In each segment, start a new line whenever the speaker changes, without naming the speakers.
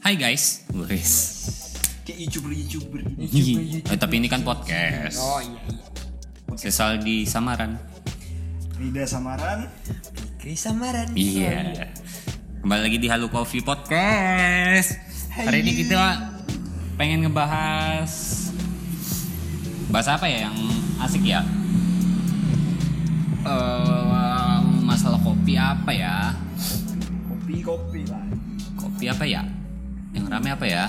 Hai guys. Wes.
Kayak youtuber-youtuber gitu.
Eh, tapi ini kan podcast.
Oh iya iya.
Sesal di samaran.
Rida Samaran
Fikri Samaran.
Iya. Kembali lagi di Halu Coffee Podcast. Hari ini kita pengen ngebahas bahas apa ya yang asik ya? Eh, masalah kopi apa ya?
kopi kopi lah
Kopi apa ya? Yang rame apa ya?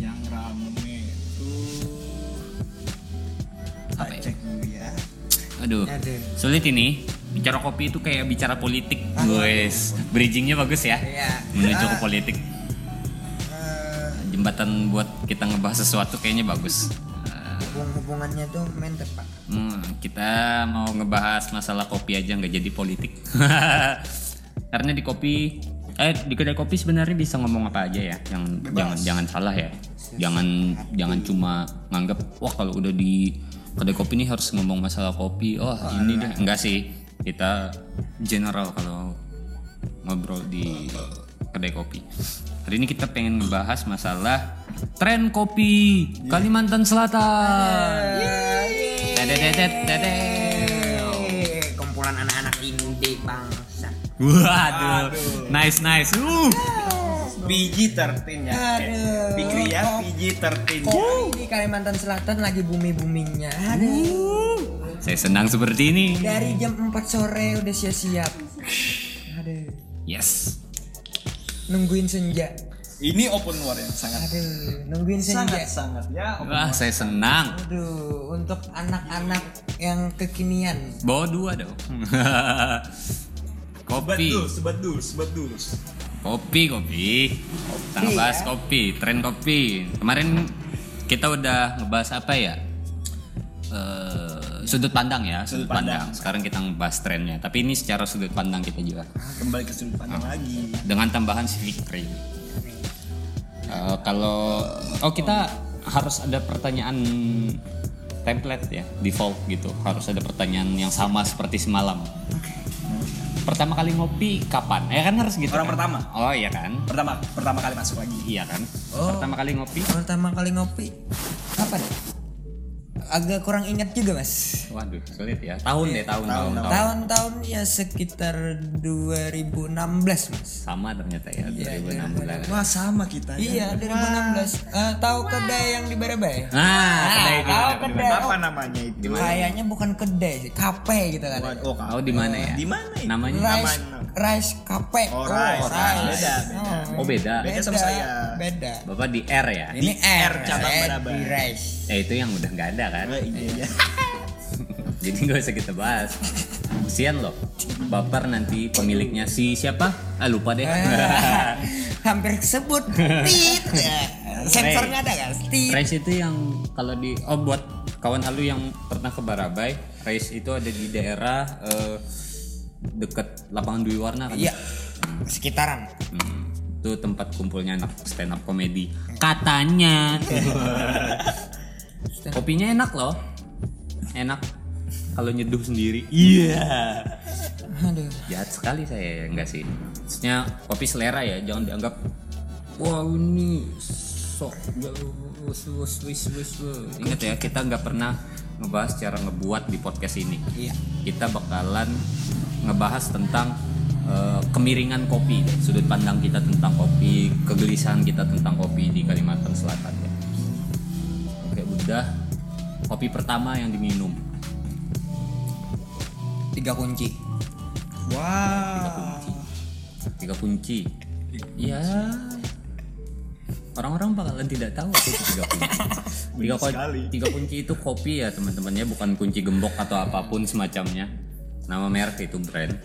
yang rame itu
Apa ya?
cek dulu ya
Aduh.
Aduh.
Sulit ini. Bicara kopi itu kayak bicara politik. Guys, bridgingnya bagus ya.
Iya.
Menuju ke
Ah.
politik.
Eh,
Jembatan buat kita ngebahas sesuatu kayaknya bagus.
hubungan-hubungannya tuh mantep pak.
Hmm, kita mau ngebahas masalah kopi aja nggak jadi politik. Karena di kopi eh di kedai kopi sebenarnya bisa ngomong apa aja ya. Yang jangan jangan salah ya. Jangan jangan cuma nganggap wah kalau udah di kedai kopi ini harus ngomong masalah kopi. Oh, ini deh. Enggak sih. Kita general kalau ngobrol di kedai kopi. Hari ini kita pengen ngebahas masalah tren kopi Kalimantan Selatan. Dedededet, dedel.
Eh, kumpulan anak-anak indie bangsa.
Waduh, nice nice. Uh.
PG 13 ya
Aduh.
Fikri ya
Kop-
PG 13
Kopi di Kalimantan Selatan lagi bumi buminya. Aduh.
Saya senang seperti ini.
Dari jam 4 sore udah siap-siap. Aduh.
Yes.
Nungguin senja.
ini open war yang sangat
Aduh. Nungguin senja.
sangat sangat ya open
Wah, saya senang.
Aduh. Untuk anak-anak yang kekinian.
Bawa dua dong.
sebat
kopi,
dulu sebat dulu sebat dulu
kopi, kopi. Kita ngebahas
ya.
kopi, tren kopi. Kemarin kita udah ngebahas apa ya? Eh, sudut pandang ya, sudut,
Sudut
pandang.
pandang.
Sekarang kita ngebahas trennya. Tapi ini secara sudut pandang kita juga.
kembali ke sudut
Ah.
pandang lagi
dengan tambahan civic train. Eh, kalau oh kita harus ada pertanyaan template ya default gitu harus ada pertanyaan yang sama seperti semalam. Pertama kali ngopi kapan? Ya kan harus gitu.
Orang
kan?
pertama.
Oh iya kan,
pertama pertama kali masuk lagi
iya kan.
Oh.
Pertama kali ngopi.
Pertama kali ngopi. Kapan? Agak kurang ingat juga mas.
Waduh sulit ya. Tahun deh tahun tahun.
tahun,
tahun.
Tahun-tahun ya sekitar 2016 mas.
Sama ternyata ya
Iya,
2016.
wah sama kita ya.
Iya 2016. Eh, tahu kedai yang di
Ah,
Barabai?
Nah, kedai itu.
Ah, tahu kedai. Oh,
apa namanya itu
Kayaknya bukan kedai sih, kafe gitu kan.
Waduh, oh,
Oh, di mana ya?
di mana itu?
Namanya
Rice,
Namanya.
rice cafe.
Oh, rice. Beda, beda.
Oh beda.
Beda sama saya.
Beda.
Bapak di R ya.
Di
Ini R,
R, cabang
saya
Barabai.
Di rice.
Ya itu yang udah nggak ada kan.
Eh, iya iya
Jadi nggak usah kita bahas. Kesian loh. Baper nanti pemiliknya si siapa? Ah lupa deh.
Hampir kesebut. Tit. Sensor nggak ada kan? Tit.
Rice itu yang kalau di oh buat kawan halu yang pernah ke Barabai, Rice itu ada di daerah eh, deket lapangan Dwi Warna kan.
Iya. Sekitaran.
Hmm, itu tempat kumpulnya anak stand up komedi. Katanya. Kopinya enak loh. Enak kalau nyeduh sendiri. Iya.
Aduh.
jahat sekali saya ya, enggak sih maksudnya kopi selera ya jangan dianggap wow ini sok wus, wus, wus, wus, wus." ingat ya kita nggak pernah ngebahas cara ngebuat di podcast ini
Iya.
kita bakalan ngebahas tentang eh, kemiringan kopi sudut pandang kita tentang kopi kegelisahan kita tentang kopi di Kalimantan Selatan ya oke udah kopi pertama yang diminum
Tiga kunci.
wow
tiga kunci ya orang-orang bakalan tidak tahu apa itu tiga kunci tiga,
Benar
ko-
sekali.
tiga kunci itu kopi ya teman-temannya bukan kunci gembok atau apapun semacamnya nama merek itu brand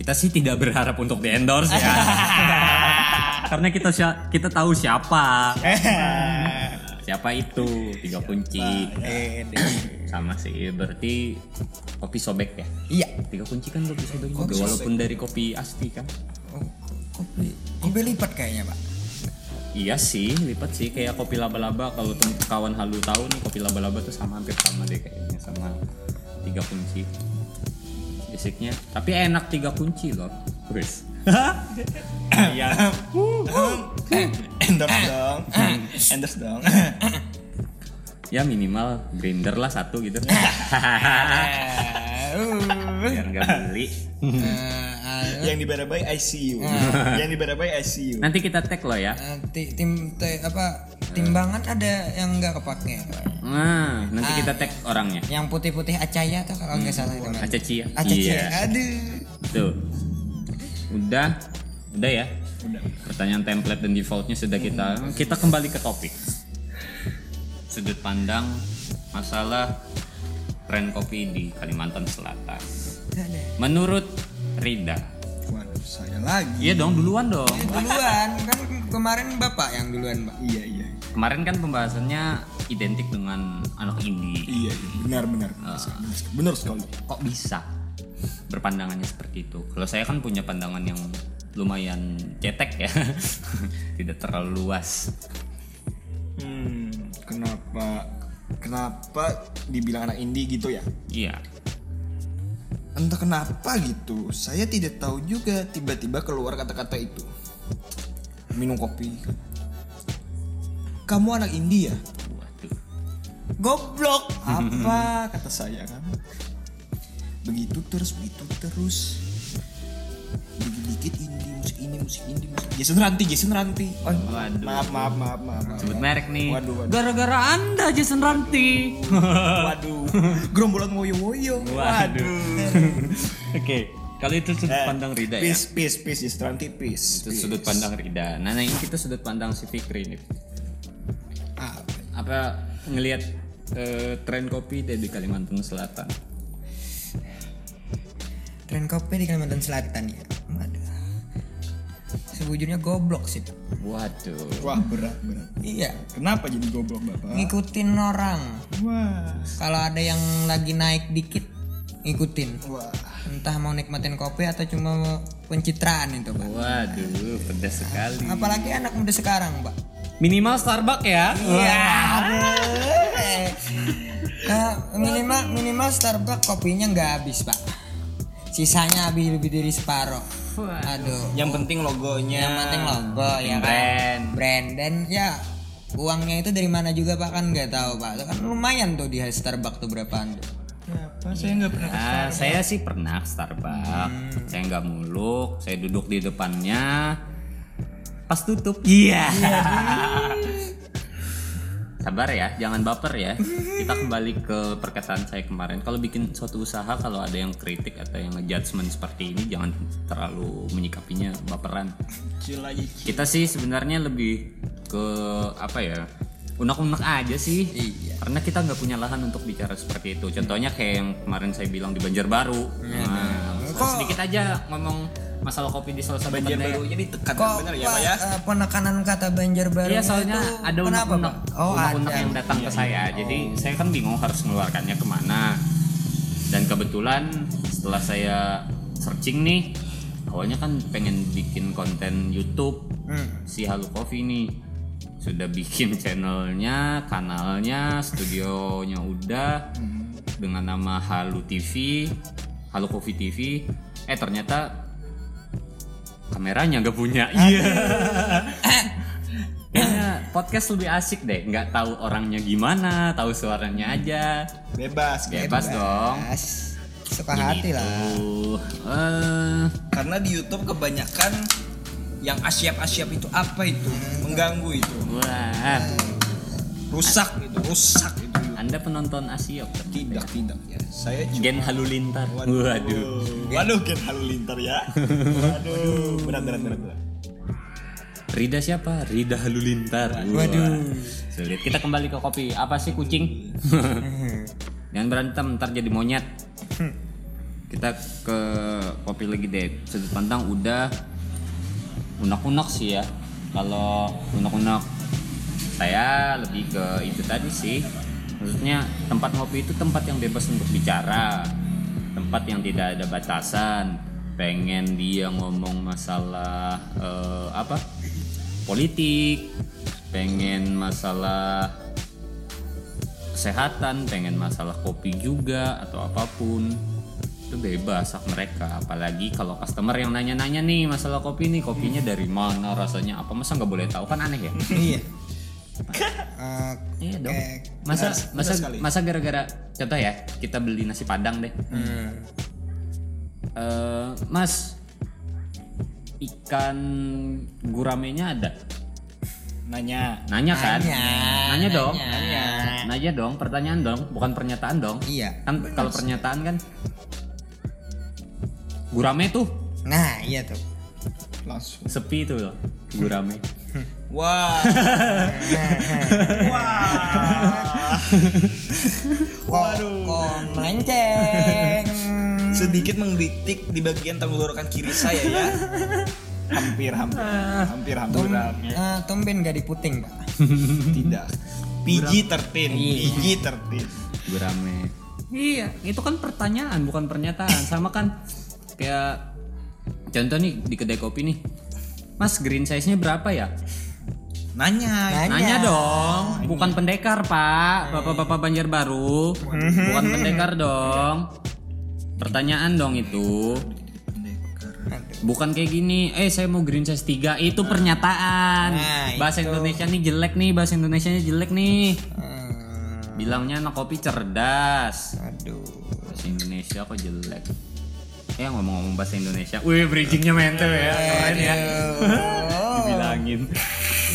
kita sih tidak berharap untuk di endorse ya karena kita sya- kita tahu siapa Eh. siapa itu tiga kunci
Eh,
sama sih berarti kopi sobek ya
Iya.
tiga kunci kan kopi sobek juga
Kopi
walaupun dari kopi asli kan
Oh, kopi. Kopi lipat kayaknya pak.
Iya sih, lipat sih kayak kopi laba-laba kalau tem- kawan halu tahu nih kopi laba-laba tuh sama hampir sama deh kayaknya sama tiga kunci. Basicnya, tapi enak tiga kunci loh. Wis. Iya.
Endorse
Eh.
dong. Endorse dong.
ya minimal grinder lah satu gitu
Eh, uh,
biar nggak beli
eh,
Yang di Barabai I see you.
Eh.
Yang di Barabai I see you.
nanti kita tag lo ya
eh, ti- tim te- apa timbangan ada yang nggak kepake
nah nanti kita tag orangnya
yang putih-putih acaya tuh kalau nggak salah itu kan.
Acaci ya
Acaya. aduh
tuh udah udah ya
Udah.
pertanyaan template dan defaultnya sudah kita kita kembali ke topik sudut pandang masalah tren kopi di Kalimantan Selatan menurut Rida
Waduh, saya lagi.
iya dong duluan dong
duluan kan kemarin bapak yang duluan pak
Iya, iya.
kemarin kan pembahasannya identik dengan anak indie
Iya, iya. benar benar. benar sekali, benar sekali. Benar sekali.
kok bisa berpandangannya seperti itu kalau saya kan punya pandangan yang lumayan cetek ya tidak terlalu luas
Hmm, kenapa kenapa dibilang anak indie gitu ya?
iya
Entah kenapa gitu, saya tidak tahu juga tiba-tiba keluar kata-kata itu. Minum kopi. Kamu anak India?
waduh
Goblok. Apa kata saya kan? Begitu terus, begitu terus. Dikit-dikit indie, musik ini, musik indie, musik. Jason Ranti, Jason Ranti. Oh,
Waduh.
maaf, maaf, maaf, maaf. maaf.
sebut merek nih
Waduh, waduh.
gara-gara anda Jason Ranti
Waduh, gerombolan woyo-woyo.
Waduh. oke kalau itu sudut
Eh,
pandang Rida ya
peace, peace, peace, Jason Ranti, peace.
itu sudut pandang Rida nah nah, ini kita sudut pandang si Fikri nih
Ah,
apa ngelihat eh, tren kopi dari Kalimantan Selatan
tren kopi di Kalimantan Selatan ya Waduh. sejujurnya goblok sih Pak.
waduh
Wah berat berat.
iya
Kenapa jadi goblok bapak?
ngikutin orang
Wah.
kalau ada yang lagi naik dikit ngikutin
Wah.
entah mau nikmatin kopi atau cuma pencitraan itu pak
Waduh, pedas sekali.
apalagi anak muda sekarang pak
Minimal Starbucks ya.
iya aduh. Eh, minimal minimal Starbucks kopinya nggak habis pak sisanya habis lebih dari separuh aduh
Yang penting logonya.
yang penting logo ya kan
brand.
brand dan ya uangnya itu dari mana juga pak kan nggak tahu pak Itu kan lumayan tuh di Starbucks tuh berapaan tuh
Kenapa saya nggak pernah?
Ah, saya sih pernah ke Starbucks. Saya nggak muluk, saya duduk di depannya. Pas tutup. Iya. Sabar ya, jangan baper ya. Kita kembali ke perkataan saya kemarin. Kalau bikin suatu usaha, kalau ada yang kritik atau yang ngejudgement seperti ini, jangan terlalu menyikapinya baperan.
Kecil lagi.
kita sih sebenarnya lebih ke apa ya unek-unek aja sih
Iya.
karena kita nggak punya lahan untuk bicara seperti itu contohnya kayak yang kemarin saya bilang di Banjarbaru nah, sedikit aja ngomong masalah kopi di Selasa
Banjir
Pekanbaru.
baru jadi tekan
kok
benar ya
Pak,
pak ya?
eh, penekanan kata Banjarbaru
Iya soalnya
itu
ada
kenapa
unek-unek
pak oh
unek-unek
ada Iya.
yang datang ke saya. Jadi saya kan bingung harus mengeluarkannya kemana. Dan kebetulan setelah saya searching nih, awalnya kan pengen bikin konten YouTube
Hmm.
si Halu Coffee nih sudah bikin channelnya, kanalnya, studionya udah
Hmm.
dengan nama Halu TV, Halu Coffee TV. Eh ternyata kameranya nggak punya. Iya. Kayaknya podcast lebih asik deh, nggak tahu orangnya gimana, tahu suaranya aja.
Bebas. gitu.
Bebas dong.
As, suka hati lah
Tuh, eh,
Karena di YouTube kebanyakan yang asyap-asyap itu apa itu? Mengganggu itu.
wah,
Rusak itu. Rusak itu.
Anda penonton Asiok.
Tidak tidak ya. Saya juga.
Gen Halulintar. Waduh.
Waduh, gen halilintar ya. Waduh, berat berat berat. berat.
Rida siapa? Rida Halulintar. Waduh. Sulit. Kita kembali ke kopi. Apa sih kucing? Jangan berantem, ntar jadi monyet. Kita ke kopi lagi deh. Sudut pandang udah unak-unak sih ya. Kalau unak-unak saya lebih ke itu tadi sih. Maksudnya tempat ngopi itu tempat yang bebas untuk bicara. Tempat yang tidak ada batasan. Pengen dia ngomong masalah eh, apa? Politik, pengen masalah kesehatan, pengen masalah kopi juga atau apapun. itu bebas hak mereka apalagi kalau customer yang nanya-nanya nih masalah kopi nih kopinya dari mana rasanya apa masa nggak boleh tahu kan aneh ya
iya Eh,
Iya dong.
kayak-
Masa masa
sekali.
masa gara-gara contoh ya, kita beli nasi padang deh.
Hmm.
Eh, mas ikan guramenya ada.
Nanya.
Nanya kan?
Nanya,
dong.
nanya.
Nanya dong, pertanyaan dong, bukan pernyataan dong.
Iya.
Kan kalau pernyataan kan gurame tuh
nah iya tuh
Langsung.
sepi tuh loh. Gurame.
Wah. Wah.
kok kok melenceng
Sedikit menggelitik di bagian tenggorokan kiri saya ya. Hampir hampir. Hampir hampir. hampir.
Eh, tumben gak diputing pak
Mm-hmm.
Tidak. PG 13,
Iya.
PG 13.
gurame iya itu kan pertanyaan bukan pernyataan sama kan kayak contoh nih di kedai kopi nih mas green size nya berapa ya
Nanya.
Nanya.
nanya dong bukan pendekar pak bapak bapak banjarbaru bukan pendekar dong pertanyaan dong itu Bukan kayak gini, eh saya mau green size 3 Itu pernyataan
Nah,
Bahasa Indonesia nih jelek nih Bahasa Indonesia nya jelek nih
Eh,
Bilangnya anak kopi cerdas
aduh
Bahasa Indonesia kok jelek Eh ngomong-ngomong bahasa Indonesia Wih bridgingnya mental ya Keren ya Dibilangin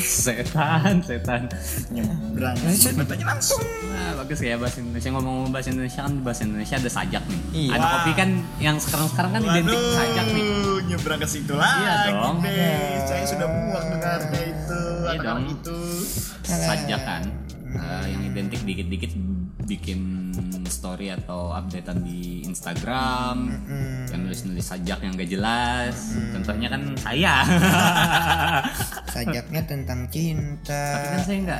Setan Setan
Nyebrang. Bertanya langsung.
Nah, bagus ya bahasa Indonesia ngomong-ngomong bahasa Indonesia kan di bahasa Indonesia ada sajak nih
Iya.
anak kopi kan yang sekarang-sekarang kan identik sajak nih
Waduh, Eh. nyebrang ke situ lagi
Iya dong.
deh. Saya sudah muak dengarnya itu.
Iya
anak-anak
dong.
itu.
sajak kan eh, yang identik dikit-dikit bikin story atau updatean di Instagram yang nulis-nulis sajak yang gak jelas contohnya kan saya
sajaknya tentang cinta
tapi kan saya nggak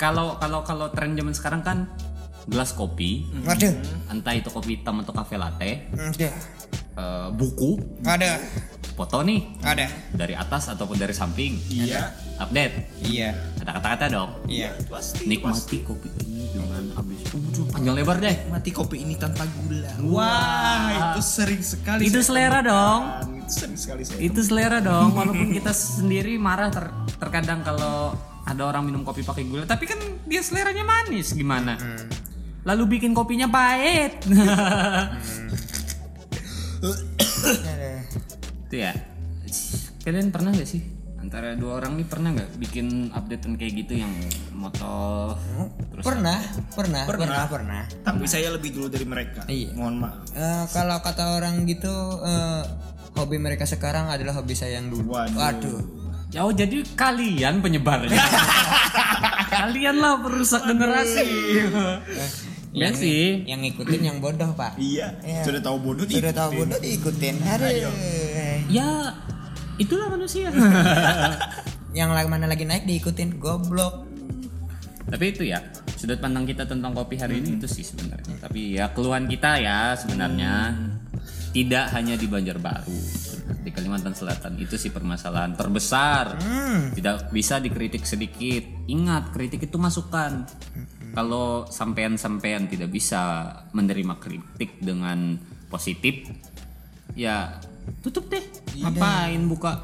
kalau kalau kalau tren zaman sekarang kan gelas kopi
waduh
entah itu kopi hitam atau kafe latte
Aduh.
eh, buku
ada
foto nih
ada
dari atas ataupun dari samping
Iya.
update
iya
ada kata-kata dong
iya
Pasti.
nikmati kopi ini dengan habis Udah, panjang lebar deh
Mati kopi ini tanpa gula.
Wah.
Wah, Ah, itu sering sekali.
Ah. itu
saya
selera dong
temukan. Itu sering sekali saya.
itu selera dong walaupun kita sendiri marah ter- terkadang kalau ada orang minum kopi pakai gula tapi kan dia seleranya manis gimana lalu bikin kopinya pahit
Aduh.
itu ya kalian pernah nggak sih antara dua orang nih pernah nggak bikin updatean kayak gitu yang motor terus
pernah
Pernah.
pernah pernah pernah
Tapi
Iya.
saya lebih dulu dari mereka.
Iya.
Mohon maaf.
Eh, kalau kata orang gitu eh, hobi mereka sekarang adalah hobi saya yang dulu
Waduh.
Ya, oh jadi kalian penyebarnya. Kalianlah perusak generasi. Iya sih.
yang ngikutin yang bodoh pak
Iya.
Iya.
Sudah tahu bodoh
sudah
tidak?
tahu bodoh diikutin aduh
Ya itulah manusia.
yang lagi mana lagi naik diikutin goblok
Tapi itu ya sudut pandang kita tentang kopi hari ini itu sih sebenarnya. Tapi ya keluhan kita ya sebenarnya tidak hanya di Banjarbaru di Kalimantan Selatan itu sih permasalahan terbesar. Tidak bisa dikritik sedikit. Ingat kritik itu masukan. Kalau sampean-sampean tidak bisa menerima kritik dengan positif, ya tutup deh. Ngapain buka?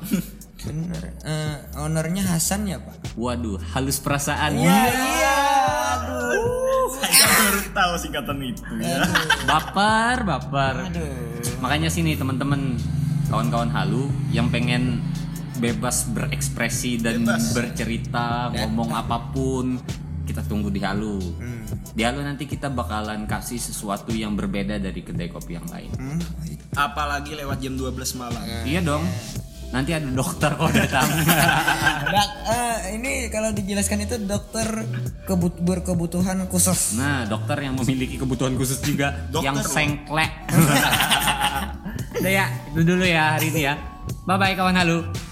bener Eh, ownernya Hasan ya pak
Waduh, halus perasaan.
iya
Saya baru tahu singkatan itu ya.
baper baper makanya sini teman-teman kawan-kawan halu yang pengen bebas berekspresi dan bercerita ngomong apapun kita tunggu di halu
Hmm.
di halu nanti kita bakalan kasih sesuatu yang berbeda dari kedai kopi yang lain
Hmm. Apalagi lewat jam 12 malam.
iya dong nanti ada dokter kok datang
Dok, eh, ini kalau dijelaskan itu dokter kebut berkebutuhan khusus
nah dokter yang memiliki kebutuhan khusus juga
Dokter
yang
loh.
sengklek udah ya itu dulu ya hari ini ya bye bye kawan halu